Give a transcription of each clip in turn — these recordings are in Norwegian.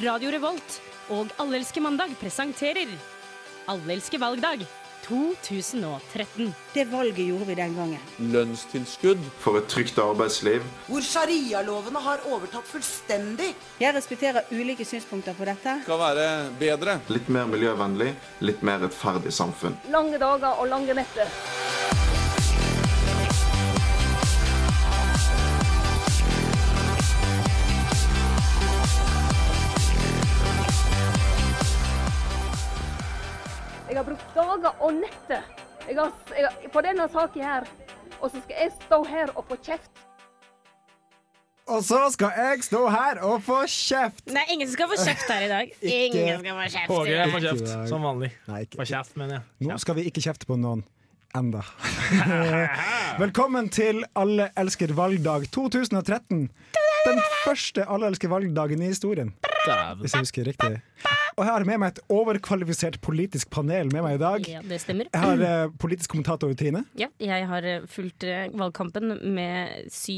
Radio Revolt og Allelske mandag presenterer Allelske valgdag 2013. Det valget gjorde vi den gangen. lønnstilskudd, for et trygt arbeidsliv. hvor sharialovene har overtatt fullstendig. Jeg respekterer ulike synspunkter på dette. skal være bedre. Litt mer miljøvennlig, litt mer rettferdig samfunn. lange dager og lange netter. Jeg har brukt dager og netter jeg har, jeg har, på denne saken her. Og så skal jeg stå her og få kjeft. Og så skal jeg stå her og få kjeft! Nei, ingen skal få kjeft her i dag. Ingen skal få kjeft. i Åge dag. får kjeft, dag. som vanlig. Nei, ikke- Får kjeft, mener jeg. Nå skal vi ikke kjefte på noen enda. Velkommen til Alle elsker valgdag 2013. Den første Alle elsker valgdagen i historien, Dæven. hvis jeg husker riktig. Og jeg har med meg et overkvalifisert politisk panel med meg i dag. Ja, det stemmer. Jeg har eh, politisk kommentator Trine. Ja, jeg har eh, fulgt eh, valgkampen med sy...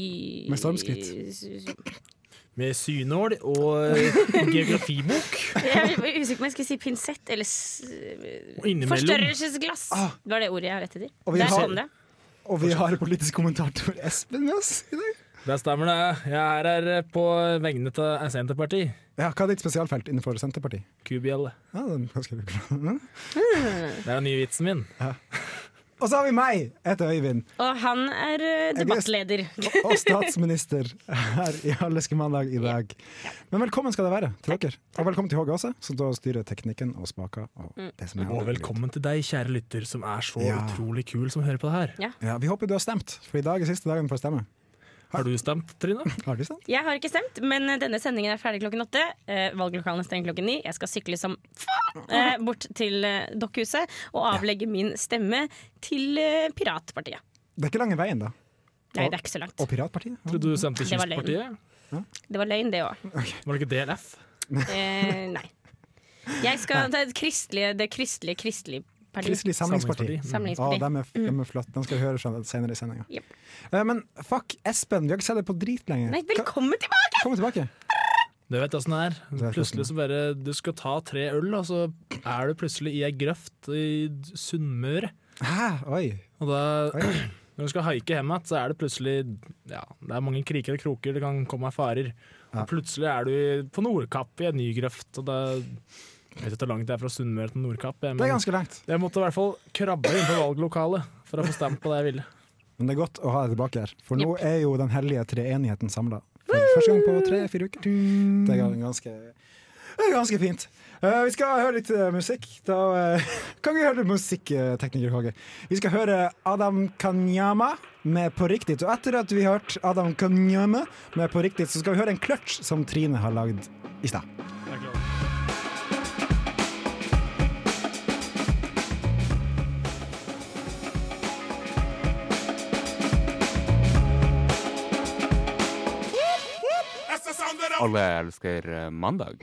Med stormskritt. sy- sy- Med synål og eh, geografibok. Jeg var usikker på om jeg skulle si pinsett eller s- Og innimellom forstørrelsesglass. Det var det ordet jeg var ute etter. Ah. Og vi Der har- kom det. Og vi har politisk kommentator Espen med oss i dag. Det stemmer, det. Jeg er her eh, på vegne av Senterpartiet. Ja, hva er ditt spesialfelt innenfor Senterpartiet? Kubjelle. Ja, den er ganske bra. Det er den nye vitsen min. Og så har vi meg! Jeg heter Øyvind. Og han er eh, debattleder. og statsminister her i Halleske mandag i dag. Men velkommen skal det være til dere. Og velkommen til Håge også, som da styrer teknikken og spaker. Og Mm. det som er Og velkommen til deg, kjære lytter, som er så Ja. utrolig kul som hører på det her. Ja, vi håper du har stemt, for i dag er siste dagen for å stemme. Har du stemt, Trine? Har du stemt? Jeg har ikke stemt, men eh, denne sendingen er ferdig klokken åtte. Eh, valglokalene stenger klokken ni. Jeg skal sykle som faen eh, bort til eh, dokkhuset og avlegge min stemme til eh, piratpartiet. Det er ikke lange veien, da. Nei, det er ikke så langt. Og Piratpartiet? Ja. Trodde du stemte Det var løgn. Kystpartiet? Det var løgn, det òg. Var det ikke DLF? Eh, nei. Jeg skal det, er et kristelige, det kristelige kristelige partiet. Kristelig Samlingsparti. Mm. Samlingsparti. Å, Samlingspartiet. dem er, dem er flott. Den skal vi høre sen- senere i sendinga. Mm. Jep. Men fuck, Espen, vi har ikke sett deg på drit lenger. Nei, velkommen tilbake! Kom tilbake. Du vet åssen det er. vet Plutselig så bare Du skal ta tre øl, og så er du plutselig i ei grøft i Sunnmøre. Hæ? Oi. Og da Oi. Når du skal haike hjem igjen, så er det plutselig ja, Det er mange kriker og kroker, det kan komme farer. Og plutselig er du på Nordkapp i en ny grøft. Og det, jeg vet ikke hvor langt det er fra Sunnmøre til Nordkapp. Jeg, Det er men, ganske langt. jeg måtte i hvert fall krabbe inn på valglokalet for å få stemt på det jeg ville. Men det er godt å ha deg tilbake her, for nå er jo den hellige treenigheten samla. Første gang på tre-fire uker. Det er ganske, det er ganske fint. Eh, vi skal høre litt eh, musikk. Da eh, kan vi høre litt musikk, eh, tekniker Håge. Vi skal høre Adam Kanyama med På riktig. Og etter at vi har hørt Adam Kanyama med På riktig, så skal vi høre en clutch som Trine har lagd i stad. Alle elsker eh, mandag.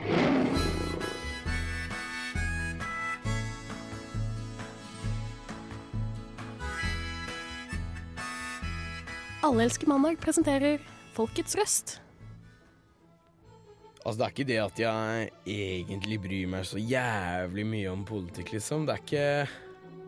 Alle elsker mandag presenterer Folkets røst. Altså, det er ikke det at jeg egentlig bryr meg så jævlig mye om politikk, liksom. Det er ikke,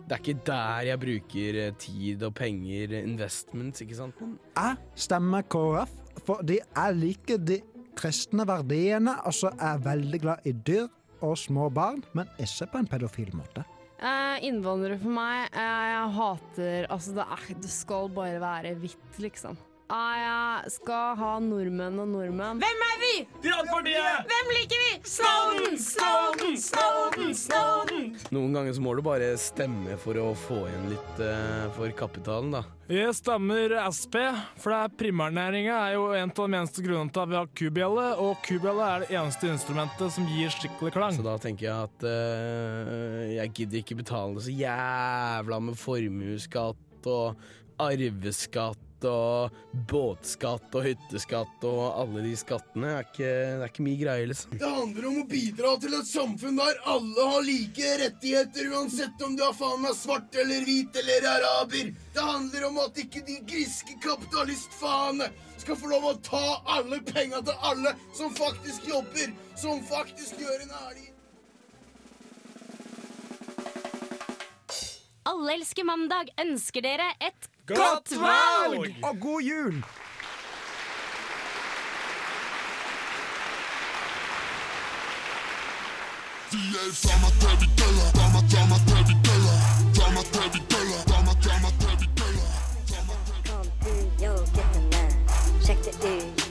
det er ikke der jeg bruker eh, tid og penger, investments, ikke sant? Men Jeg stemmer KrF fordi jeg liker de kristne verdiene, og så er jeg veldig glad i dyr og små barn, men ikke på en pedofil måte. Eh, innvandrere for meg eh, Jeg hater Altså, det, er, det skal bare være hvitt, liksom. Eh, jeg skal ha nordmenn og nordmenn. Hvem er vi?! Piratpartiet! Hvem liker vi?! Snowden! Snowden! Snowden! Snowden! noen ganger så må du bare stemme for å få igjen litt eh, for kapitalen, da. Jeg stemmer SP, for det er primærnæringa er jo en av de eneste grunnene til at vi har kubjelle, og kubjelle er det eneste instrumentet som gir skikkelig klang. Så da tenker jeg at eh, jeg gidder ikke betale så jævla med formuesskatt og arveskatt arveskatt og båtskatt og hytteskatt og alle de skattene. Det er ikke, det er ikke mye greie, liksom. Det handler om å bidra til et samfunn der alle har like rettigheter, uansett om du er faen meg svart eller hvit eller araber. Det handler om at ikke de griske kapitalistfaene skal få lov å ta alle penga til alle som faktisk jobber, som faktisk gjør en ærlig Alle elsker mandag ønsker dere et Og god jul! Kom du, yo, guttene. Sjekk det ut.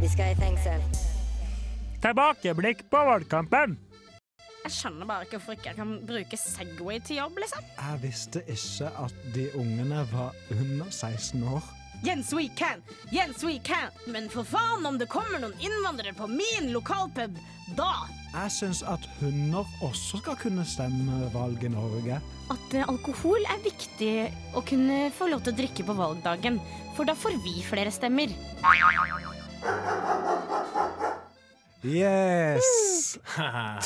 Vi skal i fengsel. Tilbakeblikk på valgkampen. Jeg skjønner bare ikke hvorfor ikke jeg kan bruke Segway til jobb, liksom. Jeg visste ikke at de ungene var under 16 år. Yes, we can! Yes, we can! Men for faen, om det kommer noen innvandrere på min lokalpub, da Jeg syns at hunder også skal kunne stemme valg i Norge. At eh, alkohol er viktig å kunne få lov til å drikke på valgdagen, for da får vi flere stemmer. Yes!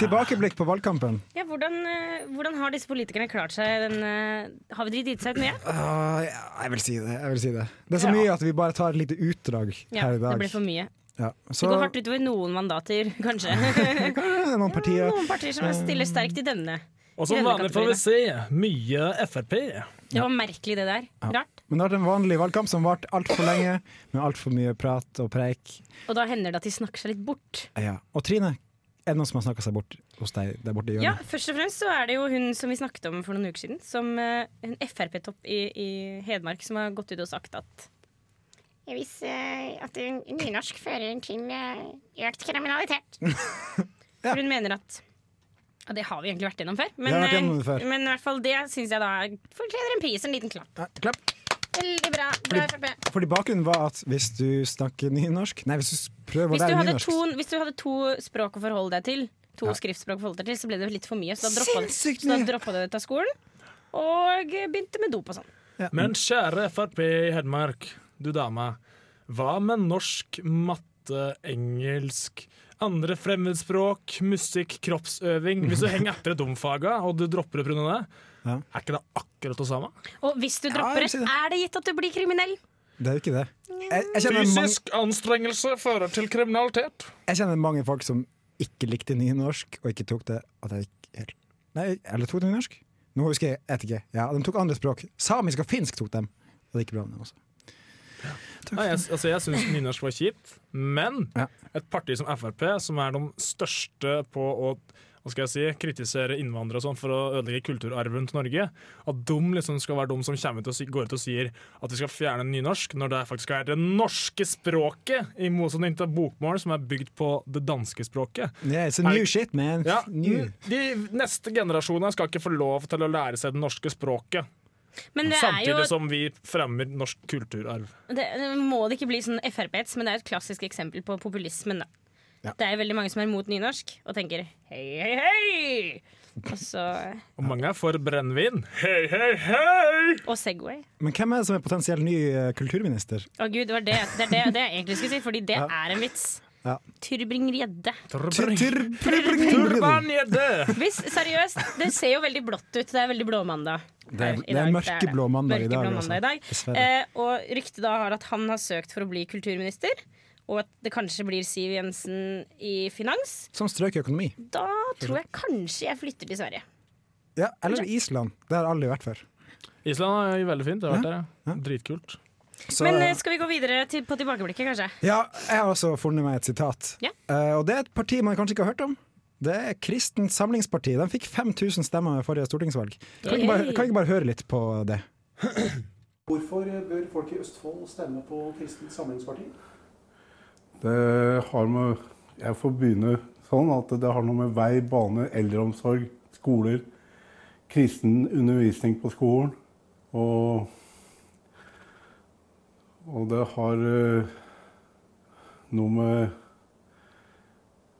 Tilbakeblikk på valgkampen. Ja, hvordan, eh, hvordan har disse politikerne klart seg? Den, eh, har vi driti seg ut mye? Ah, ja, jeg vil si det. jeg vil si Det Det er så mye at vi bare tar et lite utdrag Ja, her i dag. det ble for mye. Ja, så, Det går hardt utover noen mandater, kanskje. det er noen partier. noen partier som stiller sterkt i denne. i Og som denne vanlig får vi kategorien. se mye Frp. Det var merkelig, det der. Ja. Rart. Men det har vært en vanlig valgkamp som varte altfor lenge, med altfor mye prat og preik. Og da hender det at de snakker seg litt bort. Ja. Og Trine, er det noen som har snakka seg bort hos deg der borte i Ja, hjørnet? Først og fremst så er det jo hun som vi snakket om for noen uker siden, som eh, en Frp-topp i, i Hedmark som har gått ut og sagt at Jeg visste at nynorsk fører til eh, økt kriminalitet. For hun mener at ja, Det har vi egentlig vært gjennom før. Vi har vært eh, gjennom det før. men i hvert fall det syns jeg da er- fortjener en pris, en liten klapp. klapp. Veldig bra. bra Fordi- FrP. Fordi bakgrunnen var at hvis du snakker nynorsk Nei, hvis du prøver å Hvis du, lære hadde nynorsk to, hvis du hadde to språk å forholde deg til, to Ja. skriftspråk å forholde deg til, så ble det litt for mye. Så da droppa du- Sinnssykt så da droppa du det av skolen, og begynte med dop og sånn. Men kjære Frp i Hedmark, du dame. Hva med norsk, matte, engelsk, andre fremmedspråk, musikk, kroppsøving? Hvis du henger etter et domfaga, og du dropper det pga. det, er ikke det akkurat det samme? Og hvis du dropper jeg det, er det gitt at du blir kriminell? Det er jo ikke det. Jeg, jeg, kjenner mange, Fysisk anstrengelse fører til kriminalitet. jeg kjenner mange folk som ikke likte nynorsk, og ikke tok det at jeg gikk helt Nei, eller tok de nynorsk? Nå husker jeg vet ikke. Ja, de tok andre språk. Samisk og finsk tok dem. Og det gikk bra med dem også. Nei, jeg, altså, jeg syns nynorsk var kjipt, men et parti som Frp, som er de største på å hva skal jeg si, kritisere innvandrere og sånn for å ødelegge kulturarven til Norge, at de liksom skal være de som kommer ut og si, går ut og sier at de skal fjerne nynorsk, når det faktisk er det norske språket, i motsetning til bokmål, som er bygd på det danske språket. Yeah, it's a Er- new shit, man. Ja, New. De neste generasjonene skal ikke få lov til å lære seg det norske språket, Men det er jo samtidig som vi fremmer norsk kulturarv. det, Må det ikke bli sånn Frp-ets, men det er jo et klassisk eksempel på populismen, da. Ja. Det er veldig mange som er mot nynorsk og tenker hei, hei, hei! Og så Og mange er for brennevin. Hei, hei, hei! Og Segway. Men hvem er det som er potensiell ny eh, kulturminister? Å gud, det var det, det, er det, det jeg egentlig skulle si, fordi det Ja. er en vits. Ja. Tyrbring-Gjedde. Turban Hvis, seriøst, det ser jo veldig blått ut. Det er veldig blåmandag. Det er, her i det er dag. Det er det. mørkeblå mandag i dag. altså. Mørkeblå mandag i dag. Dessverre. Eh, og ryktet da har at han har søkt for å bli kulturminister, og at det kanskje blir Siv Jensen i finans. Som strøk i økonomi. Da tror jeg kanskje jeg flytter til Sverige. Ja, eller Island. Det har aldri vært før. Island er veldig fint. Jeg har vært der. ja. Dritkult. Så, Men eh, skal vi gå videre til, på tilbakeblikket, kanskje? ja, jeg har også funnet meg et sitat. Ja. Eh, og det er et parti man kanskje ikke har hørt om. Det er Kristent Samlingsparti. De fikk 5000 stemmer ved forrige stortingsvalg. Kan vi ikke bare, kan vi ikke bare høre litt på det? Hvorfor bør folk i Østfold stemme på Kristent Samlingsparti? Det har med Jeg får begynne sånn at det har noe med vei, bane, eldreomsorg, skoler, kristen undervisning på skolen og Og det har eh, noe med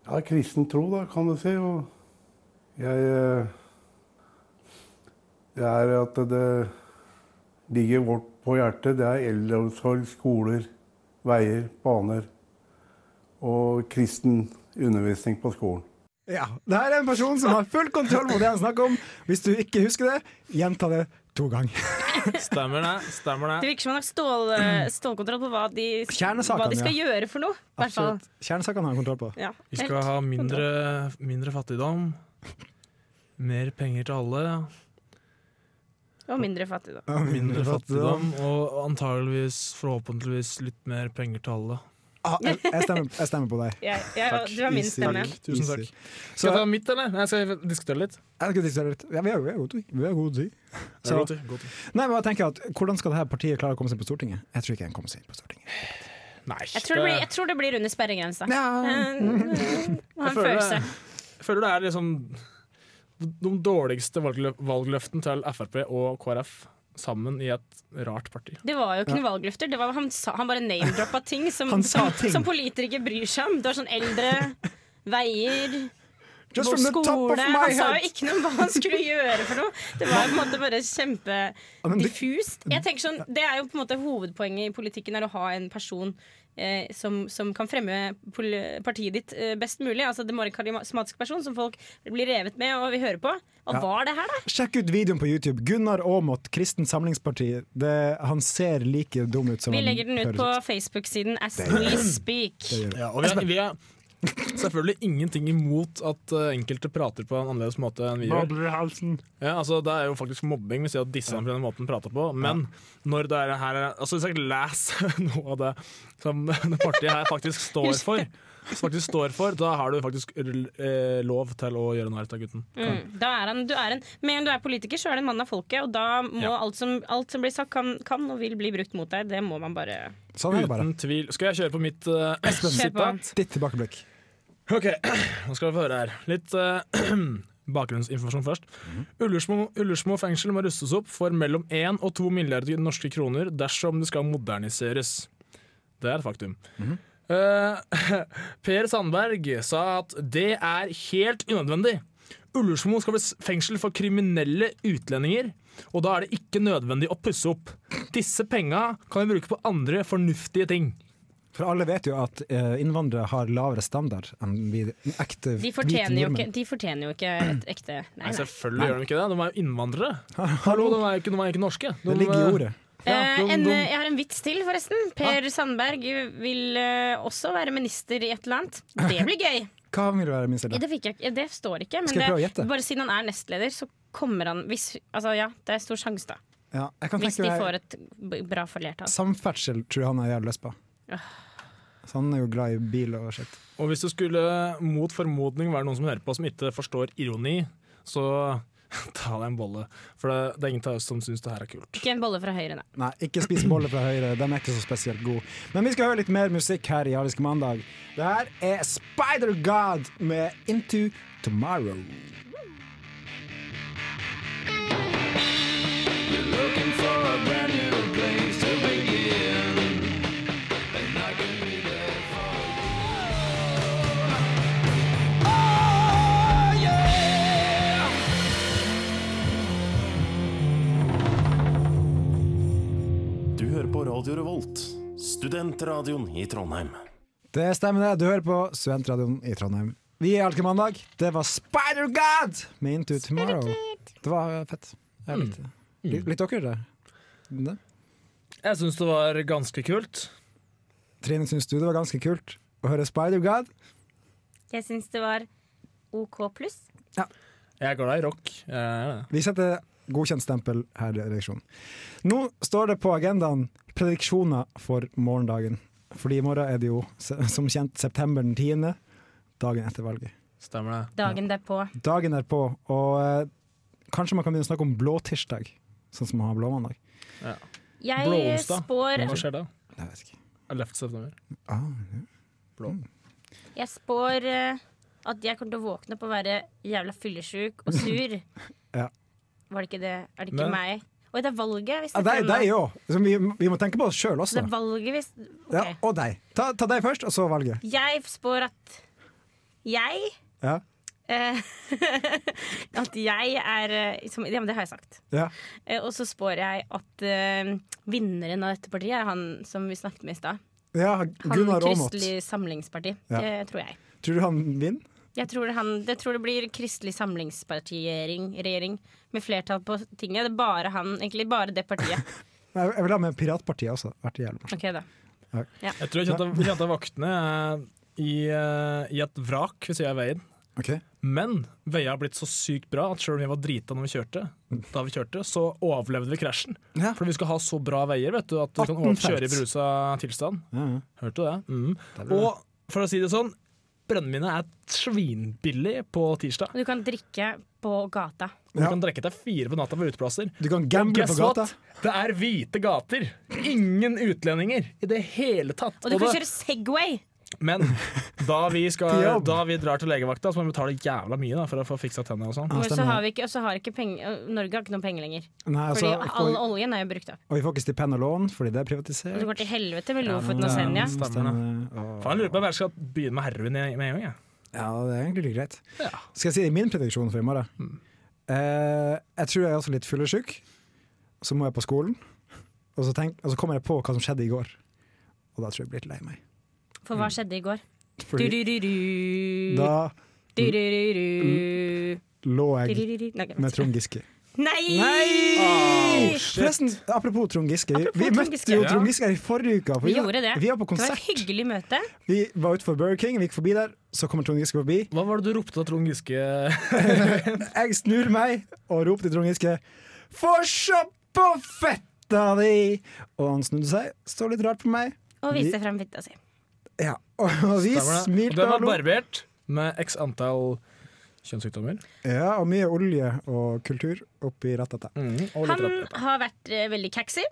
ja, kristen tro, da, kan du si. Og jeg eh, Det er at det ligger vårt på hjertet, det er eldreomsorg, skoler, veier, baner og kristen undervisning på skolen. Ja, Det her er en person som har full kontroll på det han snakker om. Hvis du ikke husker det, gjenta det to ganger. Stemmer det. stemmer Det det. virker som han har stål, eh, stålkontroll på hva de, Kjernesakene, hva de skal ja. gjøre for noe. i hvert fall. Absolutt. Kjernesakene har han kontroll på. Ja. Vi skal ha mindre, mindre fattigdom. Mer penger til alle. Og mindre fattigdom. Ja, mindre Mindre fattigdom. fattigdom. Og antageligvis, forhåpentligvis, litt mer penger til alle. Ah, jeg, jeg, stemmer, jeg stemmer på deg. Jeg, jeg, Takk. du har min Easy. stemme. Takk. Tusen takk. Easy. Skal Så- jeg ta mitt, eller? Nei, skal jeg diskutere litt? Jeg skal diskutere litt. Ja, vi har vi har god tid. Vi har god tid. Det er Så- godt, det. Godt. Nei, men jeg tenker at Hvordan skal dette partiet klare å komme seg inn på Stortinget? Jeg tror ikke den kommer seg inn på Stortinget. Nei, Jeg tror det blir, jeg tror det blir under sperregrensa. Eh, Har en Jeg føler følelse. det- Jeg føler det er liksom de dårligste valglø- valgløftene til Frp og KrF sammen i et rart parti. Det var jo ikke noen Ja. valgløfter. Det var, han, sa, han bare name-droppa ting som, Han sa som, ting. som politikere bryr seg om. Det var sånn eldre, veier Just vår from the top of skole my Han sa head. jo ikke noe om hva han skulle gjøre for noe. Det var på en måte bare kjempediffust. Jeg tenker sånn, Det er jo på en måte hovedpoenget i politikken er å ha en person eh, som, som kan fremme pol partiet ditt eh, best mulig. Altså Det må være en karismatisk person som folk blir revet med og vil høre på. Hva Ja. var det her, da? Sjekk ut videoen på YouTube. Gunnar Aamodt, Kristent Samlingsparti. Det, han ser like dum ut som Vi han legger den ut høres på Facebook-siden As Det gjør We vi. Speak. Det gjør vi. Ja, og vi er, vi er selvfølgelig ingenting imot at eh, enkelte prater på en annerledes måte enn vi gjør. Babler i halsen. Ja, altså, det er jo faktisk mobbing hvis jeg disser ham på den måten han prater på, men når det er her altså, Hvis jeg leser noe av det som det partiet her faktisk står for, faktisk står for da har du faktisk eh, lov til å gjøre narr av gutten. Mm. Da er han, du er en, med en du er politiker, så er du en mann av folket. Og da må Ja. alt, som, alt som blir sagt, kan, kan og vil bli brukt mot deg. Det må man bare Sånn er det bare. Uten tvil. Skal jeg kjøre på mitt eh, Kjør på. sitat? Ditt tilbakeblikk. Ok, nå skal vi få høre her. Litt eh, bakgrunnsinformasjon først. Ullersmo, Ullersmo fengsel må rustes opp for mellom 1 og 2 milliarder norske kroner dersom det skal moderniseres. Det er et faktum. Eh, per Sandberg sa at det er helt unødvendig. Ullersmo skal bli s- fengsel for kriminelle utlendinger, og da er det ikke nødvendig å pusse opp. Disse penga kan vi bruke på andre fornuftige ting. For alle vet jo at eh, innvandrere har lavere standard enn vi ekte De fortjener, hvite jo ikke, nordmenn. de fortjener jo ikke et ekte Nei, Nei, nei. selvfølgelig gjør de ikke det. De er jo innvandrere. Hallo, de er jo ikke, de er jo ikke norske. De, Det ligger i ordet. Ja, Eh, de- en, de- jeg har en vits til, forresten. Per Sandberg vil eh, også være minister i et eller annet. Det blir gøy! Hva vil du være minst Det, fikk jeg, ikke- det står ikke. Men Skal jeg prøve å det, gjette? bare siden han er nestleder, så kommer han hvis, altså, Ja, det er stor sjanse, da. Ja, jeg kan Hvis de tenke meg- får et b- bra forlertall. Samferdsel tror jeg han er jævlig lyst på. Så han er jo glad i bil og shit. eh, Og hvis det skulle mot formodning være noen som hører på som ikke forstår ironi, så ta deg en bolle. For det, det er ingen av oss som syns det her er kult. Ikke en bolle fra høyre, nei. Nei, ikke spis boller fra høyre, de er ikke så spesielt gode. Men vi skal høre litt mer musikk her i Ariske mandag. Det her er Spider God med Into Tomorrow. Du hører på Radio Revolt, studentradioen i Trondheim. Det stemmer det, du hører på Studentradioen i Trondheim. Vi er Ariske mandag, det var Spider God med Into Tomorrow. Det var eh, fett. Jeg likte det. Lik- Likte dere det? det? Jeg syns det var ganske kult. Trine, syns du det var ganske kult å høre Spider God? Jeg syns det var OK pluss. Jeg er glad i rock. Jeg er det. Vi setter godkjent stempel her i redaksjonen. Nå står det på agendaen prediksjoner for morgendagen. Fordi i morgen er det jo se- som kjent september den 10., dagen etter valget. Stemmer det. Dagen derpå. Dagen er på, og eh, kanskje man kan begynne å snakke om blåtirsdag, sånn som man har blåmandag. Ja. Jeg Blåonsdag. spår- Hva skjer da? Jeg vet ikke. 11. september. Ah, Blå. Jeg spår eh, at jeg kommer til å våkne opp og være jævla fyllesyk og sur. Ja. Var det ikke det? Er det ikke Men- meg? Oi, det er valget. Hvis Ja, deg deg òg! Så Vi, vi må tenke på oss sjøl også. Det er valget hvis Ja, og deg. Ta, ta deg først, og så valget. Jeg spår at jeg Ja. eh, Eh, at jeg er eh, som, Ja, men det har jeg sagt. Ja. Eh, og så spår jeg at eh, vinneren av dette partiet er han som vi snakket med i stad. ja Han Gunnar Aamodt. Kristelig Samlingsparti. Ja. Det tror jeg. Tror du han vinner? Jeg tror, det han, jeg tror det blir Kristelig Samlingsparti-regjering regjering, med flertall på tinget. Det er bare han, egentlig. Bare det partiet. Nei, Jeg vil ha med Piratpartiet også. Vært jævlig morsomt. Ok, da. Ja. Ja. Jeg tror jeg kjente, kjente vaktene eh, i, eh, i et vrak ved siden av veien. Ok. Men veia har blitt så sykt bra at selv om vi var drita når vi kjørte, da vi kjørte, så overlevde vi krasjen. For vi skal ha så bra veier vet du, at du 18 kan over- kjøre i felt. berusa tilstand. Hørte du det? Det er Mm. bra. Og for å si det sånn, brønnvinet er svinbillig på tirsdag. Og Du kan drikke på gata. Du kan drikke deg fire på natta på uteplasser. Du kan gamble Og guess på gata. what? Det er hvite gater. Ingen utlendinger i det hele tatt. Og du kan det- kjøre Segway! Men da vi, Til skal, jobb. da vi drar til legevakta, så må vi betale jævla mye da, for å få fiksa tennene og sånn. Og så har, vi ikke, og så har ikke penger, Norge har ikke noen penger lenger. Nei, altså, Fordi ikke- all oljen er jo brukt opp. Og vi får ikke stipend og lån fordi det er privatisert. Og det går til helvete med Lofoten eh, og Senja. Stemmer det. Åh. Faen, jeg lurer på om jeg skal begynne med heroin i- med en gang. jeg. Ja, det er egentlig like greit. Skal jeg si min prediksjon for i morgen? Hmm. Eh, jeg tror jeg er også litt fyllesyk. Så må jeg på skolen, og så, tenk, og så kommer jeg på hva som skjedde i går. Og da tror jeg jeg blir litt lei meg. For hva skjedde i går? Fordi- Du-du-du-du. Da Du-du-du-du. lå jeg Du-du-du-du. Nei, med Trond Giske. Nei! Nei! Forresten, apropos Trond Giske. Vi, vi Trond møtte Giske. jo Ja. Trond Giske her i forrige uke. for Vi gjorde det. Vi var på Det var konsert. et hyggelig møte. Vi var utenfor Burger King, vi gikk forbi der, så kommer Trond Giske forbi. Hva var det du ropte av Trond Giske? jeg snur meg og roper til Trond Giske Få se på fetta di! Og han snudde seg, så litt rart på meg. Og viste frem fitta si. Vi- Ja, og vi Stemmer det. Og smilte Den var og lo. barbert med x antall kjønnssykdommer. Ja, og mye olje og kultur oppi rattet. Mm, og Han har vært eh, veldig kaxy.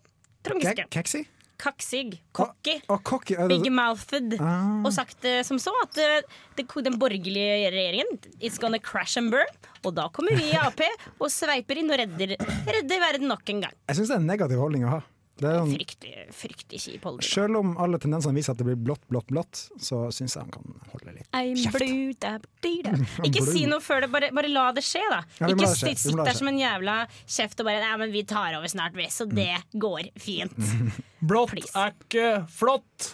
Trond Giske. Kaxi? Kaksig. Cocky. Og cocky. er det- Big mouthed. Ah. Og sagt eh, som så at eh, det, den borgerlige regjeringen It's gonna crash and burn. Og da kommer vi i Ap og sveiper inn og redder, redder verden nok en gang. Jeg syns det er en negativ holdning å ha. Det er sånn, Fryktelig, fryktelig kjip holdning. selv om alle tendensene viser at det blir blått, blått, blått, så syns jeg han kan holde litt. I'm blue, da, di, da. Ikke Blue. si noe før det, bare, bare la det skje, da. Ja, vi må Ikke la det skje, si- vi må la sitt det der skje. Mm. som en jævla kjeft og bare Nei, men vi tar over snart, vi, så det går fint. Blått er ikke flott.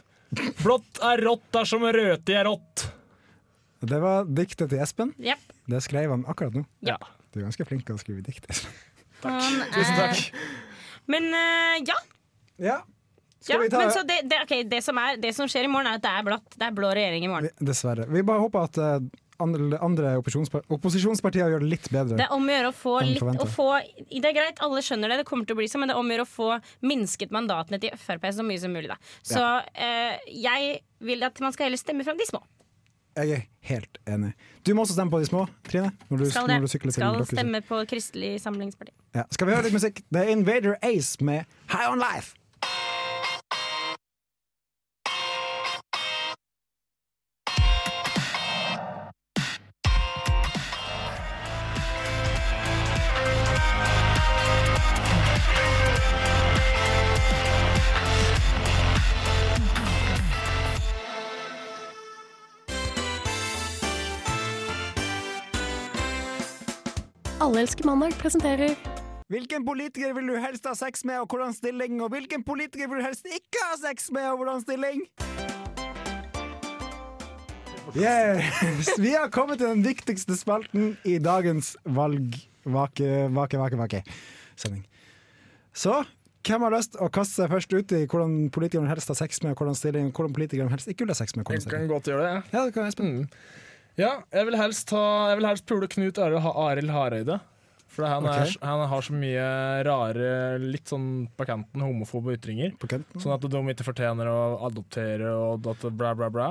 Blått er rått dersom rødt er rått. Det var diktet til Espen. Japp. Det skrev han akkurat nå. Ja. Du er ganske flink til å skrive dikt. Espen. Han er- Tusen takk. Men eh, ja. Ja. Ja, Skal vi ta- men så det, det, ok, det, som er, det som skjer i morgen, er at det er blått. Det er blå regjering i morgen. Eh, Dessverre. Vi bare håper at eh, andre, andre opposisjonspar- opposisjonspartier gjør det litt bedre. Det er om å gjøre å få Enn litt forventet. å få, Det er greit, alle skjønner det, det kommer til å bli sånn, men det er om å gjøre å få minsket mandatene til Frp så mye som mulig, da. Så Ja. eh, jeg vil at man skal heller stemme frem de små. Jeg er helt enig. Du må også stemme på de små, Trine. Når du, Skal det. når du sykler til Skal Dokkhuset. stemme på Kristelig Samlingsparti. Ja. Skal vi høre litt musikk? Det er Invader Ace med High On Life. Alle elsker mandag presenterer Hvilken politiker vil du helst ha sex med, og hvordan stilling? Og hvilken politiker vil du helst ikke ha sex med, og hvordan stilling? Yes. Vi har kommet til den viktigste spalten i dagens valg... Vake, vake, vake, vake. Sending. Så, hvem har lyst å kaste seg først ut i hvordan politikeren helst har sex med, og hvordan stilling, og hvordan politikeren helst ikke vil ha sex med? og hvordan Jeg stilling? kan godt gjøre det. jeg. Ja, det kan jeg Mm. Ja, jeg vil helst, ta, jeg vil helst pule Knut Arild Ha- Arild Hareide. For han, er, Ok. han har så mye rare, litt sånn på kanten homofobe ytringer. Mm. Sånn at de ikke fortjener å adoptere og at bla, bla, bla.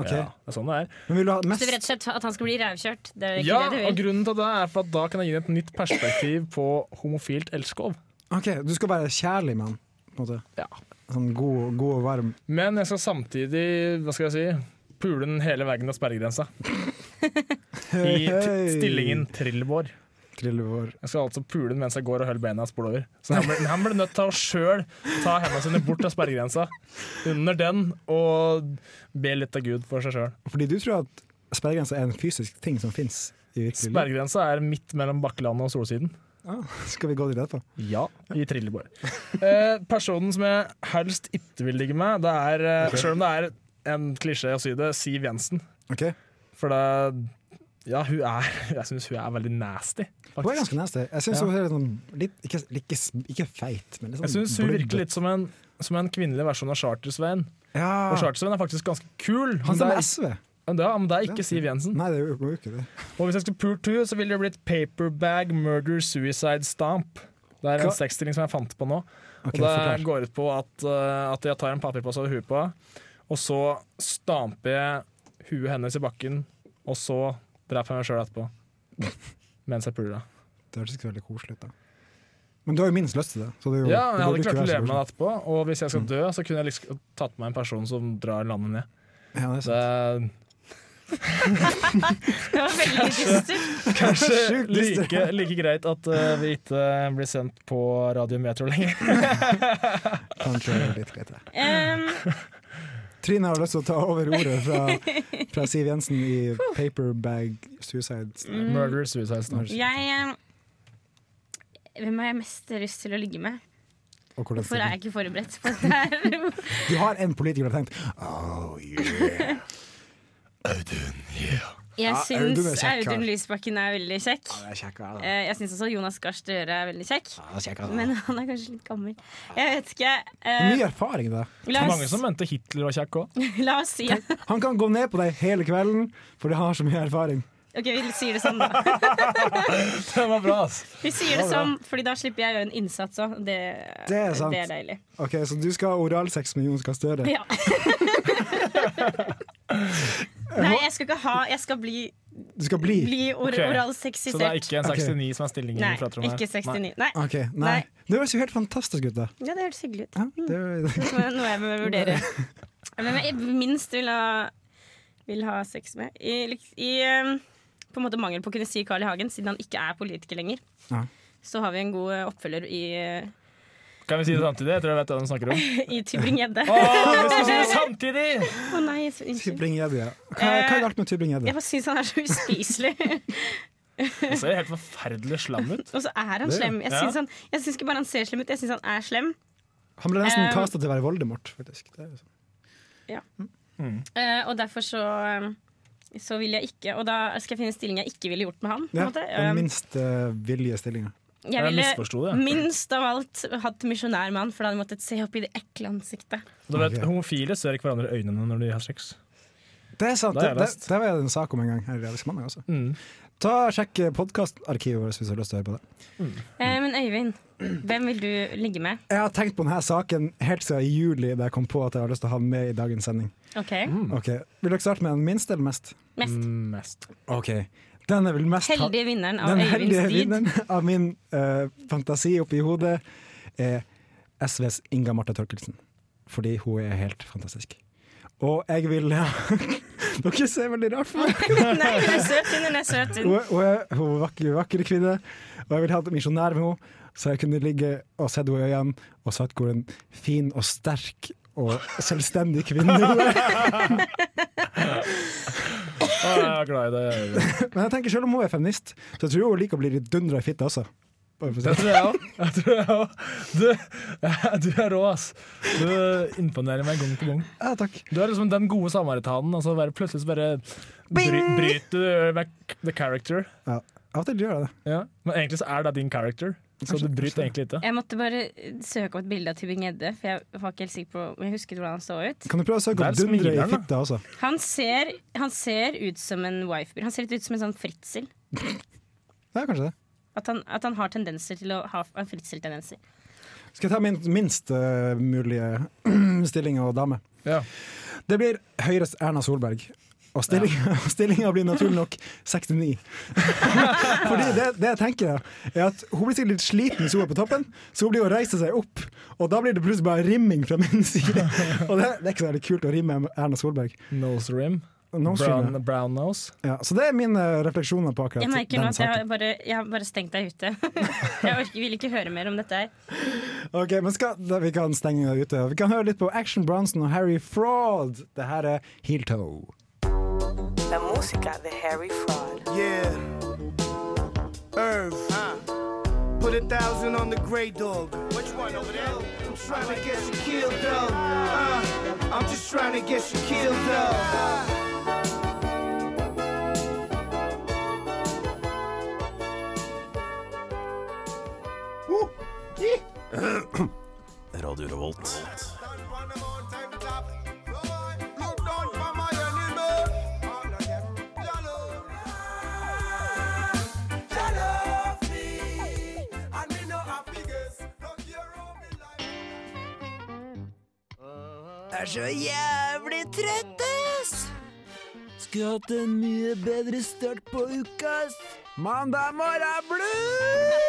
Ok. Ja, det er sånn det er. Men vil du ha Så mest du vil rett og slett at han skal bli rævkjørt? Det er ikke Ja, det og du vil? grunnen til det er for at da kan jeg gi deg et nytt perspektiv på homofilt elskov. Ok, du skal være kjærlig med han, på en måte. Ja. Sånn god, god og varm. Men jeg skal samtidig, hva skal jeg si, pule den hele veggen av sperregrensa. I t stillingen trillebår. Trillebår. Jeg skal altså pule den mens jeg går og holder beina spolet over. Så han blir, han blir nødt til å sjøl ta hendene sine bort av sperregrensa, under den, og be litt av Gud for seg sjøl. Fordi du tror at Sperregrensa er en fysisk ting som fins i virkelig liv. Sperregrensa er midt mellom Bakkelandet og Solsiden. Skal vi gå til det etterpå? Ja, vi triller bare. Eh, personen som jeg helst ikke vil ligge med, det er, eh, Ok. selv om det er en klisjé å si det, Siv Jensen. Ok. For det Ja, hun er Jeg syns hun er veldig nasty. Hun er ganske nasty. Jeg syns Ja. hun er litt, sånn- litt ikke, ikke, ikke feit, men litt sånn Jeg syns hun blubber. virker litt som en, som en kvinnelig versjon av Charter-Svein. Ja. Og Charter-Svein er faktisk ganske kul. Ah. Han men det stemmer er- SV. Men det, men det er Det ikke Siv Jensen. Nei, det er jo ikke det. Og hvis jeg skulle pult henne, så ville det blitt Paperbag Murder Suicide Stomp. Det er en Hva? sexstilling som jeg fant på nå. Ok, og det forklar. går ut på at, eh, at jeg tar en papirpose over huet på henne, og så stamper jeg huet hennes i bakken, og så dreper jeg meg sjøl etterpå. Mens jeg puler henne. Det hørtes ikke veldig koselig ut, da. Men du har jo minst lyst til det. Så det er jo, Ja, det jeg hadde burde ikke klart å være så Mm. leve med det koselig. etterpå, og hvis jeg skal dø, så kunne jeg liksom tatt med en person som drar landet ned. Ja, det er Det var veldig dystert. Kanskje Sjukt dystert. like, like greit at eh, vi ikke blir sendt på Radio Metro lenger. Kanskje litt greit, det. Um, Trine har lyst til å ta over ordet fra, fra Siv Jensen i Paperbag Suicide Mm. Murder Suicide jeg eh, Hvem har jeg mest lyst til å ligge med? Og hvordan Hvorfor er jeg ikke forberedt på dette her? Du har en politiker du har tenkt Oh yeah. Jeg Ja, Audun er syns kjekk, Audun altså. Lysbakken er veldig kjekk. Ja, det er kjekk, ja, da. Eh, Jeg syns også Jonas Gahr Støre er veldig kjekk. Ja, det er kjekk, altså. Men han er kanskje litt gammel. Jeg vet ikke. eh, Mye erfaring, da. Det er mange som mente Hitler var kjekk òg. La oss si at Han kan gå ned på deg hele kvelden, for det har så mye erfaring. OK, vi sier det sånn, da. Det var bra, ass. Vi sier det Ja, bra. sånn, fordi da slipper jeg å gjøre en innsats òg. Det, Det er sant. det er deilig. Ok, Så du skal ha oralsex med Jonas Gahr Støre? Ja. Nei, jeg skal ikke ha Jeg skal bli Du skal Eh, bli? or oralsexisert. Så det er ikke en Ok. 69 som er stillingen Nei, fra Trondheim? ikke 69. Nei. Mm. Ok, nei. Det høres jo helt fantastisk ut, da. Ja, det hørtes hyggelig ut. Det Det er noe jeg må vurdere. Hvem jeg minst vil ha, vil ha sex med? I, liks- i eh, på en måte mangel på å kunne si Carl I. Hagen, siden han ikke er politiker lenger. Ja. Så har vi en god eh, oppfølger i, eh, Kan vi si det samtidig? Jeg tror jeg vet hva de snakker om. i Tybring-Gjedde. Å, vi skal si det samtidig! Å nei, så unnskyld. Tybring-Gjedde, ja. Hva, hva er galt med Jeg Tybring-Gjedde? bare syns han er så uspiselig. Han ser helt forferdelig slam ut. Og så er han Det- slem. Jeg Ja. syns han- jeg syns ikke bare han ser slem ut, jeg syns han er slem. Han ble nesten Eh, kasta til å være Voldemort, faktisk. Det er jo sånn. Ja. Mm. Eh, og derfor så um, så vil jeg ikke Og da skal jeg finne en stilling jeg ikke ville gjort med han. På en Ja, måte. den Um, minst eh, villige stillinga. jeg ville minst av alt hatt misjonær med han, for da hadde jeg måttet se opp i det ekle ansiktet. Du vet, Homofile ser ikke hverandre i øynene når de har sex. Det er sant. Det Det, er det, lest. det var det en sak om en gang her i Realisk mandag også. Ta Sjekk podkastarkivet vårt hvis du har lyst til å høre på det. Eh, men Øyvind, hvem vil du ligge med? Jeg har tenkt på denne saken helt siden i juli da jeg kom på at jeg har lyst til å ha den med i dagens sending. OK? Mm. Ok, Vil dere starte med den minste eller mest? Mest. Ok, Den er vel mest ha- Heldige vinneren av Den Øyvinds heldige dyd. vinneren av min eh, fantasi oppi hodet er SVs Inga Marte Torkelsen. Fordi hun er helt fantastisk. Og jeg vil Dere ser veldig rart på meg. Nei, hun er søt, hun. Hun er søt, Hun, hun. er- hun er hun er vakker, vakker kvinne, og jeg vil ha et misjonær med henne. Så jeg kunne ligge og sett henne i øynene og sagt hvor en fin og sterk og selvstendig kvinne hun er. Å, jeg er glad i det. Men jeg tenker selv om hun er feminist, så jeg tror hun liker å bli litt dundra i fitta også. Bare for å si Det tror jeg òg. Jeg tror jeg også. Du, du er rå, ass. Du imponerer meg gang på gang. Ja, takk. Du er liksom den gode samaritanen, og så bare plutselig så bare bry, Bing! bryter du vekk the character. Ja, Av og til gjør jeg det. Ja. Men egentlig så er det din character, så du bryter egentlig ikke. Jeg måtte bare søke opp et bilde av Tybing-Gjedde, for jeg var ikke helt sikker på om jeg husket hvordan han så ut. Kan du prøve å søke opp Der smiler dundre i han, da. fitta også? Han ser, han ser ut som en wifebeater. Han ser litt ut som en sånn fritsel. Ja, kanskje det. At han, at han har tendenser til å ha ha fritzeltendenser. Skal jeg ta min minst eh, mulige stilling og dame? Det blir Høyres Erna Solberg. Og stillinga blir naturlig nok 69. Fordi det, det jeg tenker er, er at Hun blir sikkert litt sliten hvis hun er på toppen, så hun blir å reise seg opp. Og da blir det plutselig bare rimming fra min side. Og det, det er ikke så veldig kult å rimme med Erna Solberg. Nose rim. Nose rim, Brown, ja. brown nose. Ja, så det er mine eh, refleksjoner på akkurat Jeg merker nå den at jeg har saken. bare, jeg har bare stengt deg ute. Jeg orker, vil ikke høre mer om dette her. Ok, men skal, da, Vi kan stenge det ute. Vi kan høre litt på Action Bronson og Harry Fraud. Det her er Heel Toe. Det er mot Pussy got the hairy fraud. Yeah. Irv. Put a thousand on the gray dog. Which one over there? I'm trying to get you killed, though. Uh, I'm just trying to get you killed, though. Radio Revolt. Er så jævlig trøtt, ass! Skulle hatt en mye bedre start på uka, ass. Mandag morgen er blues!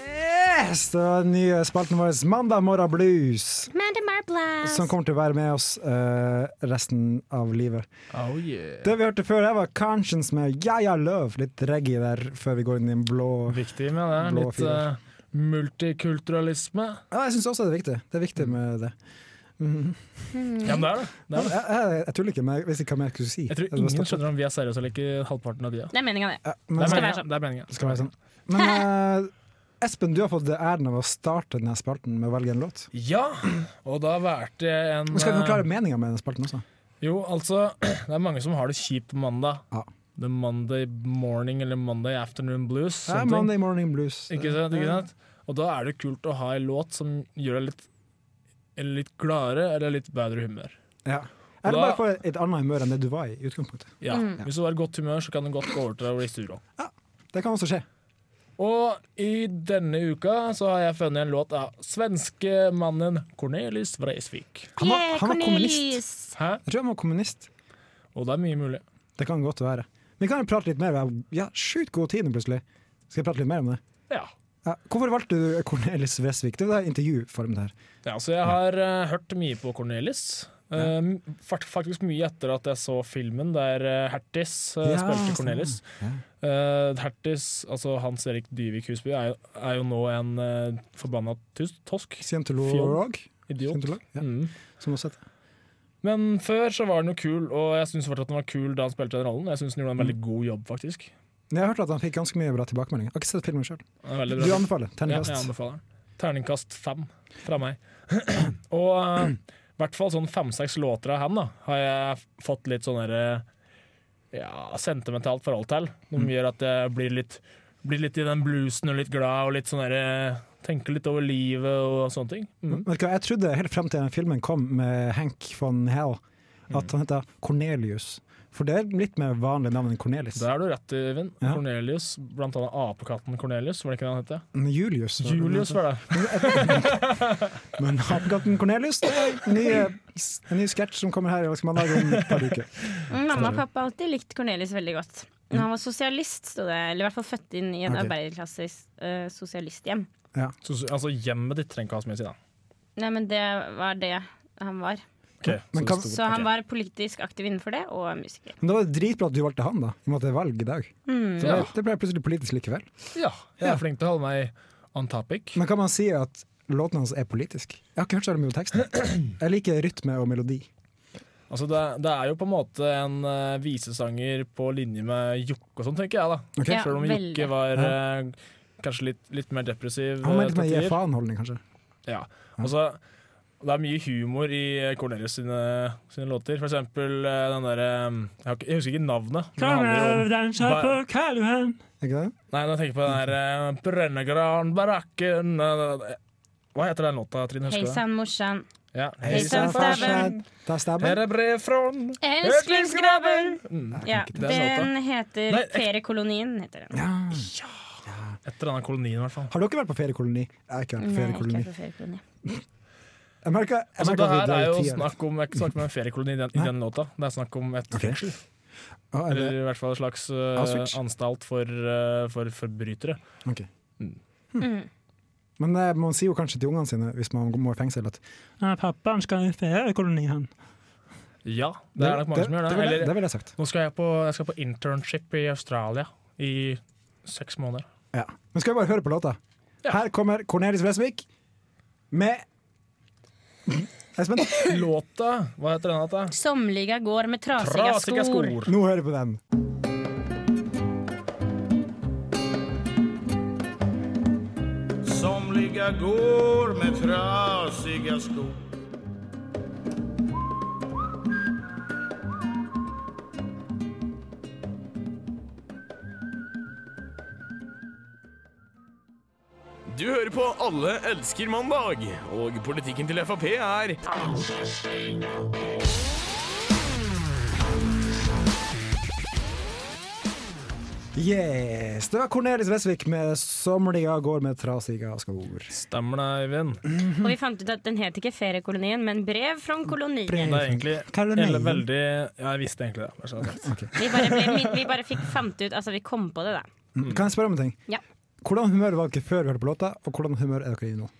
Yes, det var den nye spalten vår, Mandag morgen blues, Mandy Marblast. som kommer til å være med oss eh, resten av livet. Oh yeah. Det vi hørte før her, var Conscience med Yeah, Yeah Love. Litt reggae der før vi går inn i en blå Viktig med det. Blå Litt firer. eh, multikulturalisme. Ja, jeg syns også det er viktig. Det er viktig med det. Mhm. Mm. Ja, men det er det. det, er det. Jeg, jeg, jeg tuller ikke, men jeg visste ikke hva mer jeg skulle si. Jeg tror ingen skjønner om vi er seriøse eller ikke, halvparten av de. Det er meninga, det. men- det Skal være er meningen. Det er meningen. Skal være sånn. Men eh, Espen, du har fått æren av å starte denne spalten med å velge en låt. Ja, og da valgte jeg en Men skal vi eh, forklare meninga med denne spalten også? Jo, altså, det er mange som har det kjipt på mandag. The Monday morning eller Monday afternoon blues. Ja, sånne ting. Monday Morning Blues. Ikke sant, ikke sant? Og da er det kult å ha en låt som gjør deg litt, eller litt gladere eller litt bedre humør. Ja. Og Eller da- bare få et annet humør enn det du var i i utgangspunktet. Ja. Mm. Hvis du har godt humør, så kan det godt gå over til å bli sur òg. Det kan også skje. Og i denne uka så har jeg funnet en låt av svenske mannen Cornelis Vreisvik. Han var- han var Cornelis. kommunist. Hæ? Jeg tror han var kommunist. Og det er mye mulig. Det kan godt være. Vi kan jo prate litt mer. Vi har sjukt god tid nå, plutselig. Skal jeg prate litt mer om det? Ja. Ja, Hvorfor valgte du Cornelis Vresvik? Det var intervjuform der. Ja, så jeg har eh, hørt mye på Cornelis. Eh, fakt- faktisk mye etter at jeg så filmen der eh, Hertis eh, Ja, spilte stemmer. Cornelis. Eh, Hertis, altså Hans Erik Dyvik Husby, er jo, er jo nå en uh, forbanna tus- tosk. Scientolog. Fjong. Idiot. Mm. Scientolog, ja. Som også heter. Men før så var han jo kul, og jeg syns fortsatt han var kul da han spilte den rollen. Jeg syns han gjorde en veldig god jobb, faktisk. Men Jeg har hørt at han fikk ganske mye bra tilbakemeldinger. Jeg har ikke sett filmen sjøl. Den er veldig bra. Du anbefaler. Ja, jeg Terningkast. anbefaler den. Terningkast fem fra meg. Og eh, i hvert fall sånn fem-seks låter av han da, har jeg fått litt sånn derre ja, sentimentalt forhold til. Som gjør at jeg blir litt, blir litt i den bluesen og litt glad og litt sånn derre Tenker litt over livet og sånne ting. Mm. Vet du hva, jeg trodde helt frem til den filmen kom med Hank von Hell, Mm. at han heter Cornelius. For det er litt mer vanlig navn enn Cornelis. Det er du rett i, Vin. Ja. Cornelius, blant annet apekatten Cornelius, var det ikke det han het? Julius. Julius var det. Men Apekatten Cornelius, det er en ny, en ny sketsj som kommer her i Elsk mandag om et par uker. Mm, Mamma og pappa har alltid likt Cornelis veldig godt. Når han var sosialist, sto det. Eller i hvert fall født inn i en Ok. arbeiderklassisk eh, sosialisthjem. Så, altså, hjemmet ditt trenger ikke ha så mye å si, da. Nei, men det var det han var. Ok, Men så kan- det sto- Så han ok. var politisk aktiv innenfor det, og musiker. Men det var dritbra at du valgte han, da. I og med at det er valg i dag. Mm. Så det, Ja. det ble plutselig politisk likevel. Ja, jeg er flink til å holde meg on topic. Men kan man si at låten hans er politisk? Jeg har ikke hørt så mye om teksten. Jeg liker rytme og melodi. Altså det, det er jo på en måte en eh, visesanger på linje med Jokke og sånn, tenker jeg. da Ok. Ja, Selv om Jokke veldig. var Ja. eh, kanskje litt, litt mer depressiv. Han eh, var litt mer til gi tider. faen-holdning, kanskje. Ja. Altså, det er mye humor i eh, Cornelius sine, sine låter. For eksempel eh, den derre jeg, har ikke- jeg husker ikke navnet. men det handler om- Prøvedanser på Karl Johan. Ikke det? Nei, nå tenker jeg på den der eh, Brennegranbarakken eh, Hva heter den låta, Trine? Hei Husker du det? sann, morsan. Ja. Hei sann, stabben. Det er stabben. Her er brev fra Elsklingsgrabben! Ja, ikke den den låta. heter Nei, jeg- Feriekolonien, heter den. Et eller annet kolonien, i hvert fall. Har dere vært på feriekoloni? Jeg har ikke vært på Nei, ikke feriekoloni. på feriekoloni. Jeg merker, jeg Altså, merker det at vi her drar er i jo tida litt. snakk om, ikke snakk om en feriekoloni i den, i den låta. Det er snakk om et fengsel. Ah, er det- Eller i hvert fall et slags Ah, switch. eh, anstalt for, eh, for forbrytere. Ok. Mm. Men eh, man sier jo kanskje til ungene sine, hvis man må i fengsel, at Ja, pappaen skal i feriekoloni, han. Ja, det er nok mange Det- som gjør det. det vil jeg- Eller, det vil jeg sagt. Nå skal jeg, på, jeg skal på internship i Australia i seks måneder. Ja. Men skal vi bare høre på låta? Her kommer Cornelis Vresvik med Låta, hva heter den? At Somliga går med trasiga, Trasiga skor. skor. Nå hører jeg på den. Somliga går med trasiga skor Du hører på Alle elsker mandag, og politikken til Frp er Yes, Det var Cornelis Vesvik med 'Somliga går med trasiga skor'. Stemmer det, Eivind. Og vi fant ut at den het ikke Feriekolonien, men Brev fra kolonien. Det er egentlig Hva er det eller med? veldig Ja, jeg visste egentlig det. bare så det er sagt. Vi bare, ble, min- vi bare fikk fant ut Altså, vi kom på det, da. Mm. Kan jeg spørre om en ting? Ja. Hvordan humør var dere før vi hørte på låta, og hvordan humør er dere i nå?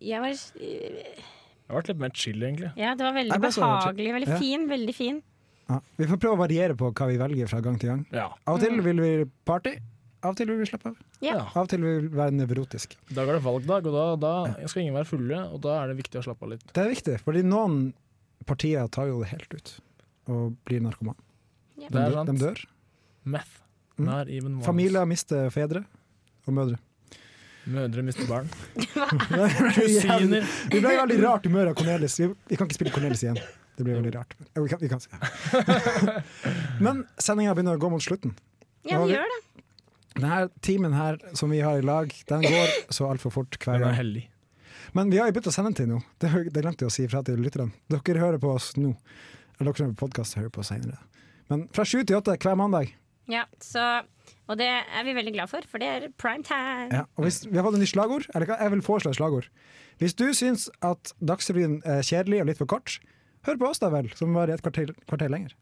Jeg var øh, Jeg ble litt mer chill, egentlig. Ja, det var veldig Nei, men så var det behagelig. Ja. Veldig fin. Veldig fin. Ja. Vi får prøve å variere på hva vi velger fra gang til gang. Av og til Mm. vil vi party, av og til vil vi slappe av. Ja. Av og til vil vi være nevrotisk. I dag er det valgdag, og da, da skal ingen være fulle, og da er det viktig å slappe av litt. Det er viktig, fordi noen partier tar jo det helt ut og blir narkoman. Det De, er dør, sant. de dør. Meth. Mm. Not even once. Familier mister fedre og mødre. Mødre mister barn. Kusiner. Vi ble i veldig rart humør av Cornelis. Vi, vi kan ikke spille Cornelis igjen. Det blir veldig rart. Jo, Vi kan, vi kan si det. Men sendinga begynner å gå mot slutten. Ja, Og vi vi- gjør det. Denne timen her som vi har i lag, den går så altfor fort hver Den gang. er hellig. Men vi har jo begynt å sende den til nå. Det, hø- det glemte jeg å si fra til lytterne. Dere hører på oss nå. Eller dere som er på podkast, hører på senere. Men fra sju til åtte hver mandag. Ja, så Og det er vi veldig glad for, for det er prime time. Ja, og hvis, vi har fått en ny slagord. Eller hva? Jeg vil foreslå et slagord. Hvis du syns at Dagsrevyen er kjedelig og litt for kort, hør på oss da vel, som var i et kvarter, kvarter lenger.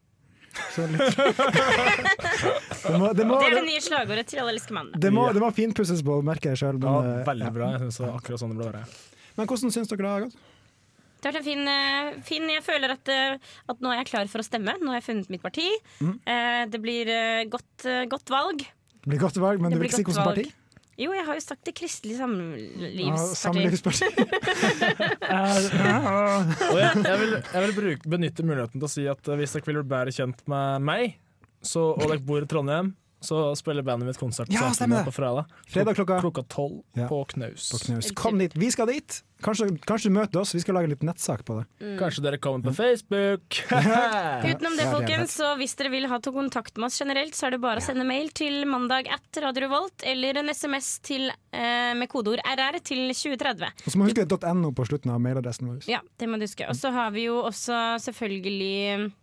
Så litt. det, må, det, må, det er det, det nye slagordet til Alle elsker mandag. det, må, det må finpusses på, merker jeg sjøl. Ja, veldig bra. Jeg synes det var akkurat sånn det ble være. Men hvordan syns dere det har gått? Det har vært en fin, eh, fin Jeg føler at, eh, at nå er jeg klar for å stemme. Nå har jeg funnet mitt parti. Mm. Eh, Det blir eh, godt, eh, godt valg. Det blir godt valg, men Det du vil blir ikke si godt hvilket valg. parti? Jo, jeg har jo sagt det kristelige Ja, samlivsparti. Samlivsparti. Og jeg, jeg vil, jeg vil bruke, benytte muligheten til å si at eh, hvis dere vil bli bedre kjent med meg, så, og dere bor i Trondheim, så spiller bandet mitt konsert på Ja, stemmer Samfunnet det. på fredag. Fredag klokka- klokka tolv Ja. på Knaus. På Knaus. Kom dit. Vi skal dit! Kanskje, kanskje du møter oss. Vi skal lage en liten nettsak på det. Kanskje dere kommer på Mm. Facebook. Utenom det, folkens, så hvis dere vil ha to kontakt med oss generelt, så er det bare å sende mail til mandag at Radio Revolt eller en SMS til, eh, med kodeord RR til 2030. Og så må du huske .no på slutten av mailadressen vår. Ja, det må du huske. Og så har vi jo også selvfølgelig mm,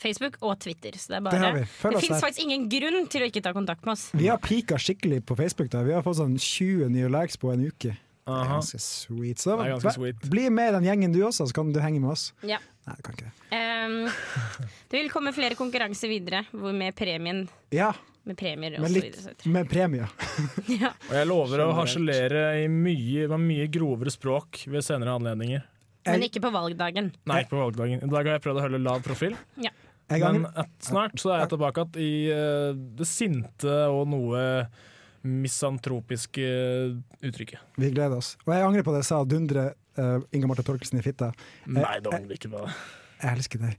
Facebook og Twitter. Så det er Det bare har vi. Følg oss fins der. faktisk ingen grunn til å ikke ta kontakt med oss. Vi har pika skikkelig på Facebook. da Vi har fått sånn 20 nye likes på en uke. Det er Aha. ganske sweet. Så Det er ganske vær- sweet. bli med i den gjengen du også, så kan du henge med oss. Ja. Nei, du kan ikke det. Ehm, det vil komme flere konkurranser videre hvor med premien. Ja, Med premier og men så litt videre. med premie. Og jeg lover å harselere i mye, med mye grovere språk ved senere anledninger. Men ikke på valgdagen. Nei, ikke på valgdagen. I dag har jeg prøvd å holde lav profil. Ja. Jeg Men angrer- at snart så er jeg tilbake at i eh, det sinte og noe misantropiske uttrykket. Vi gleder oss. Og jeg angrer på det jeg sa å dundre uh, Inga Marte Torkelsen i fitta. Jeg- Nei, det var ikke det. Jeg elsker deg.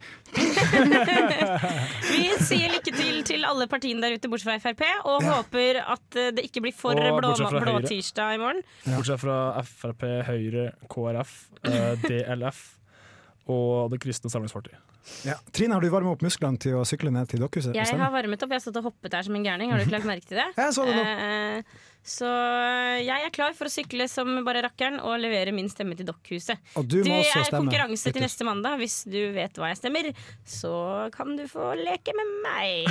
Vi sier lykke til til alle partiene der ute, bortsett fra Frp, og håper at eh, det ikke blir for Og blå, bortsett fra blå Høyre. tirsdag i morgen. Bortsett fra Frp, Høyre, KrF, eh, DLF og Det kristne samlingspartiet. Ja. Trine, har du varma opp musklene til å sykle ned til liksom? dokkhuset? Jeg Stemmer. har varmet opp. Jeg har stått og hoppet her som en gærning. Har du ikke lagt merke til det? Jeg så det Eh, så eh, jeg er klar for å sykle som bare rakkeren og levere min stemme til Dokkhuset. Og du må det også er stemme, konkurranse gutter. til neste mandag. Hvis du vet hva jeg stemmer, så kan du få leke med meg.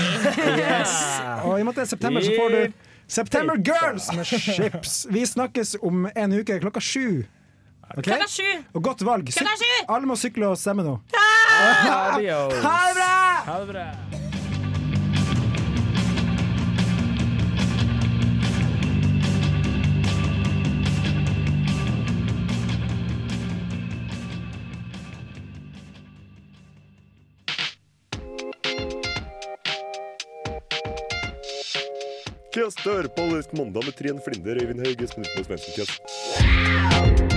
Og i og med at det er september, så får du September Girls med Chips. Vi snakkes om en uke klokka sju. Ok? Klokka sju! Og godt valg. Syk- Klokka sju! Alle må sykle og stemme nå. Adios. Ha det bra! Ha det bra! Kjøs dør på Allersk mandag med Trine Flinder, Øyvind Hauge, Espen Utmo og Svendsen Kjøs.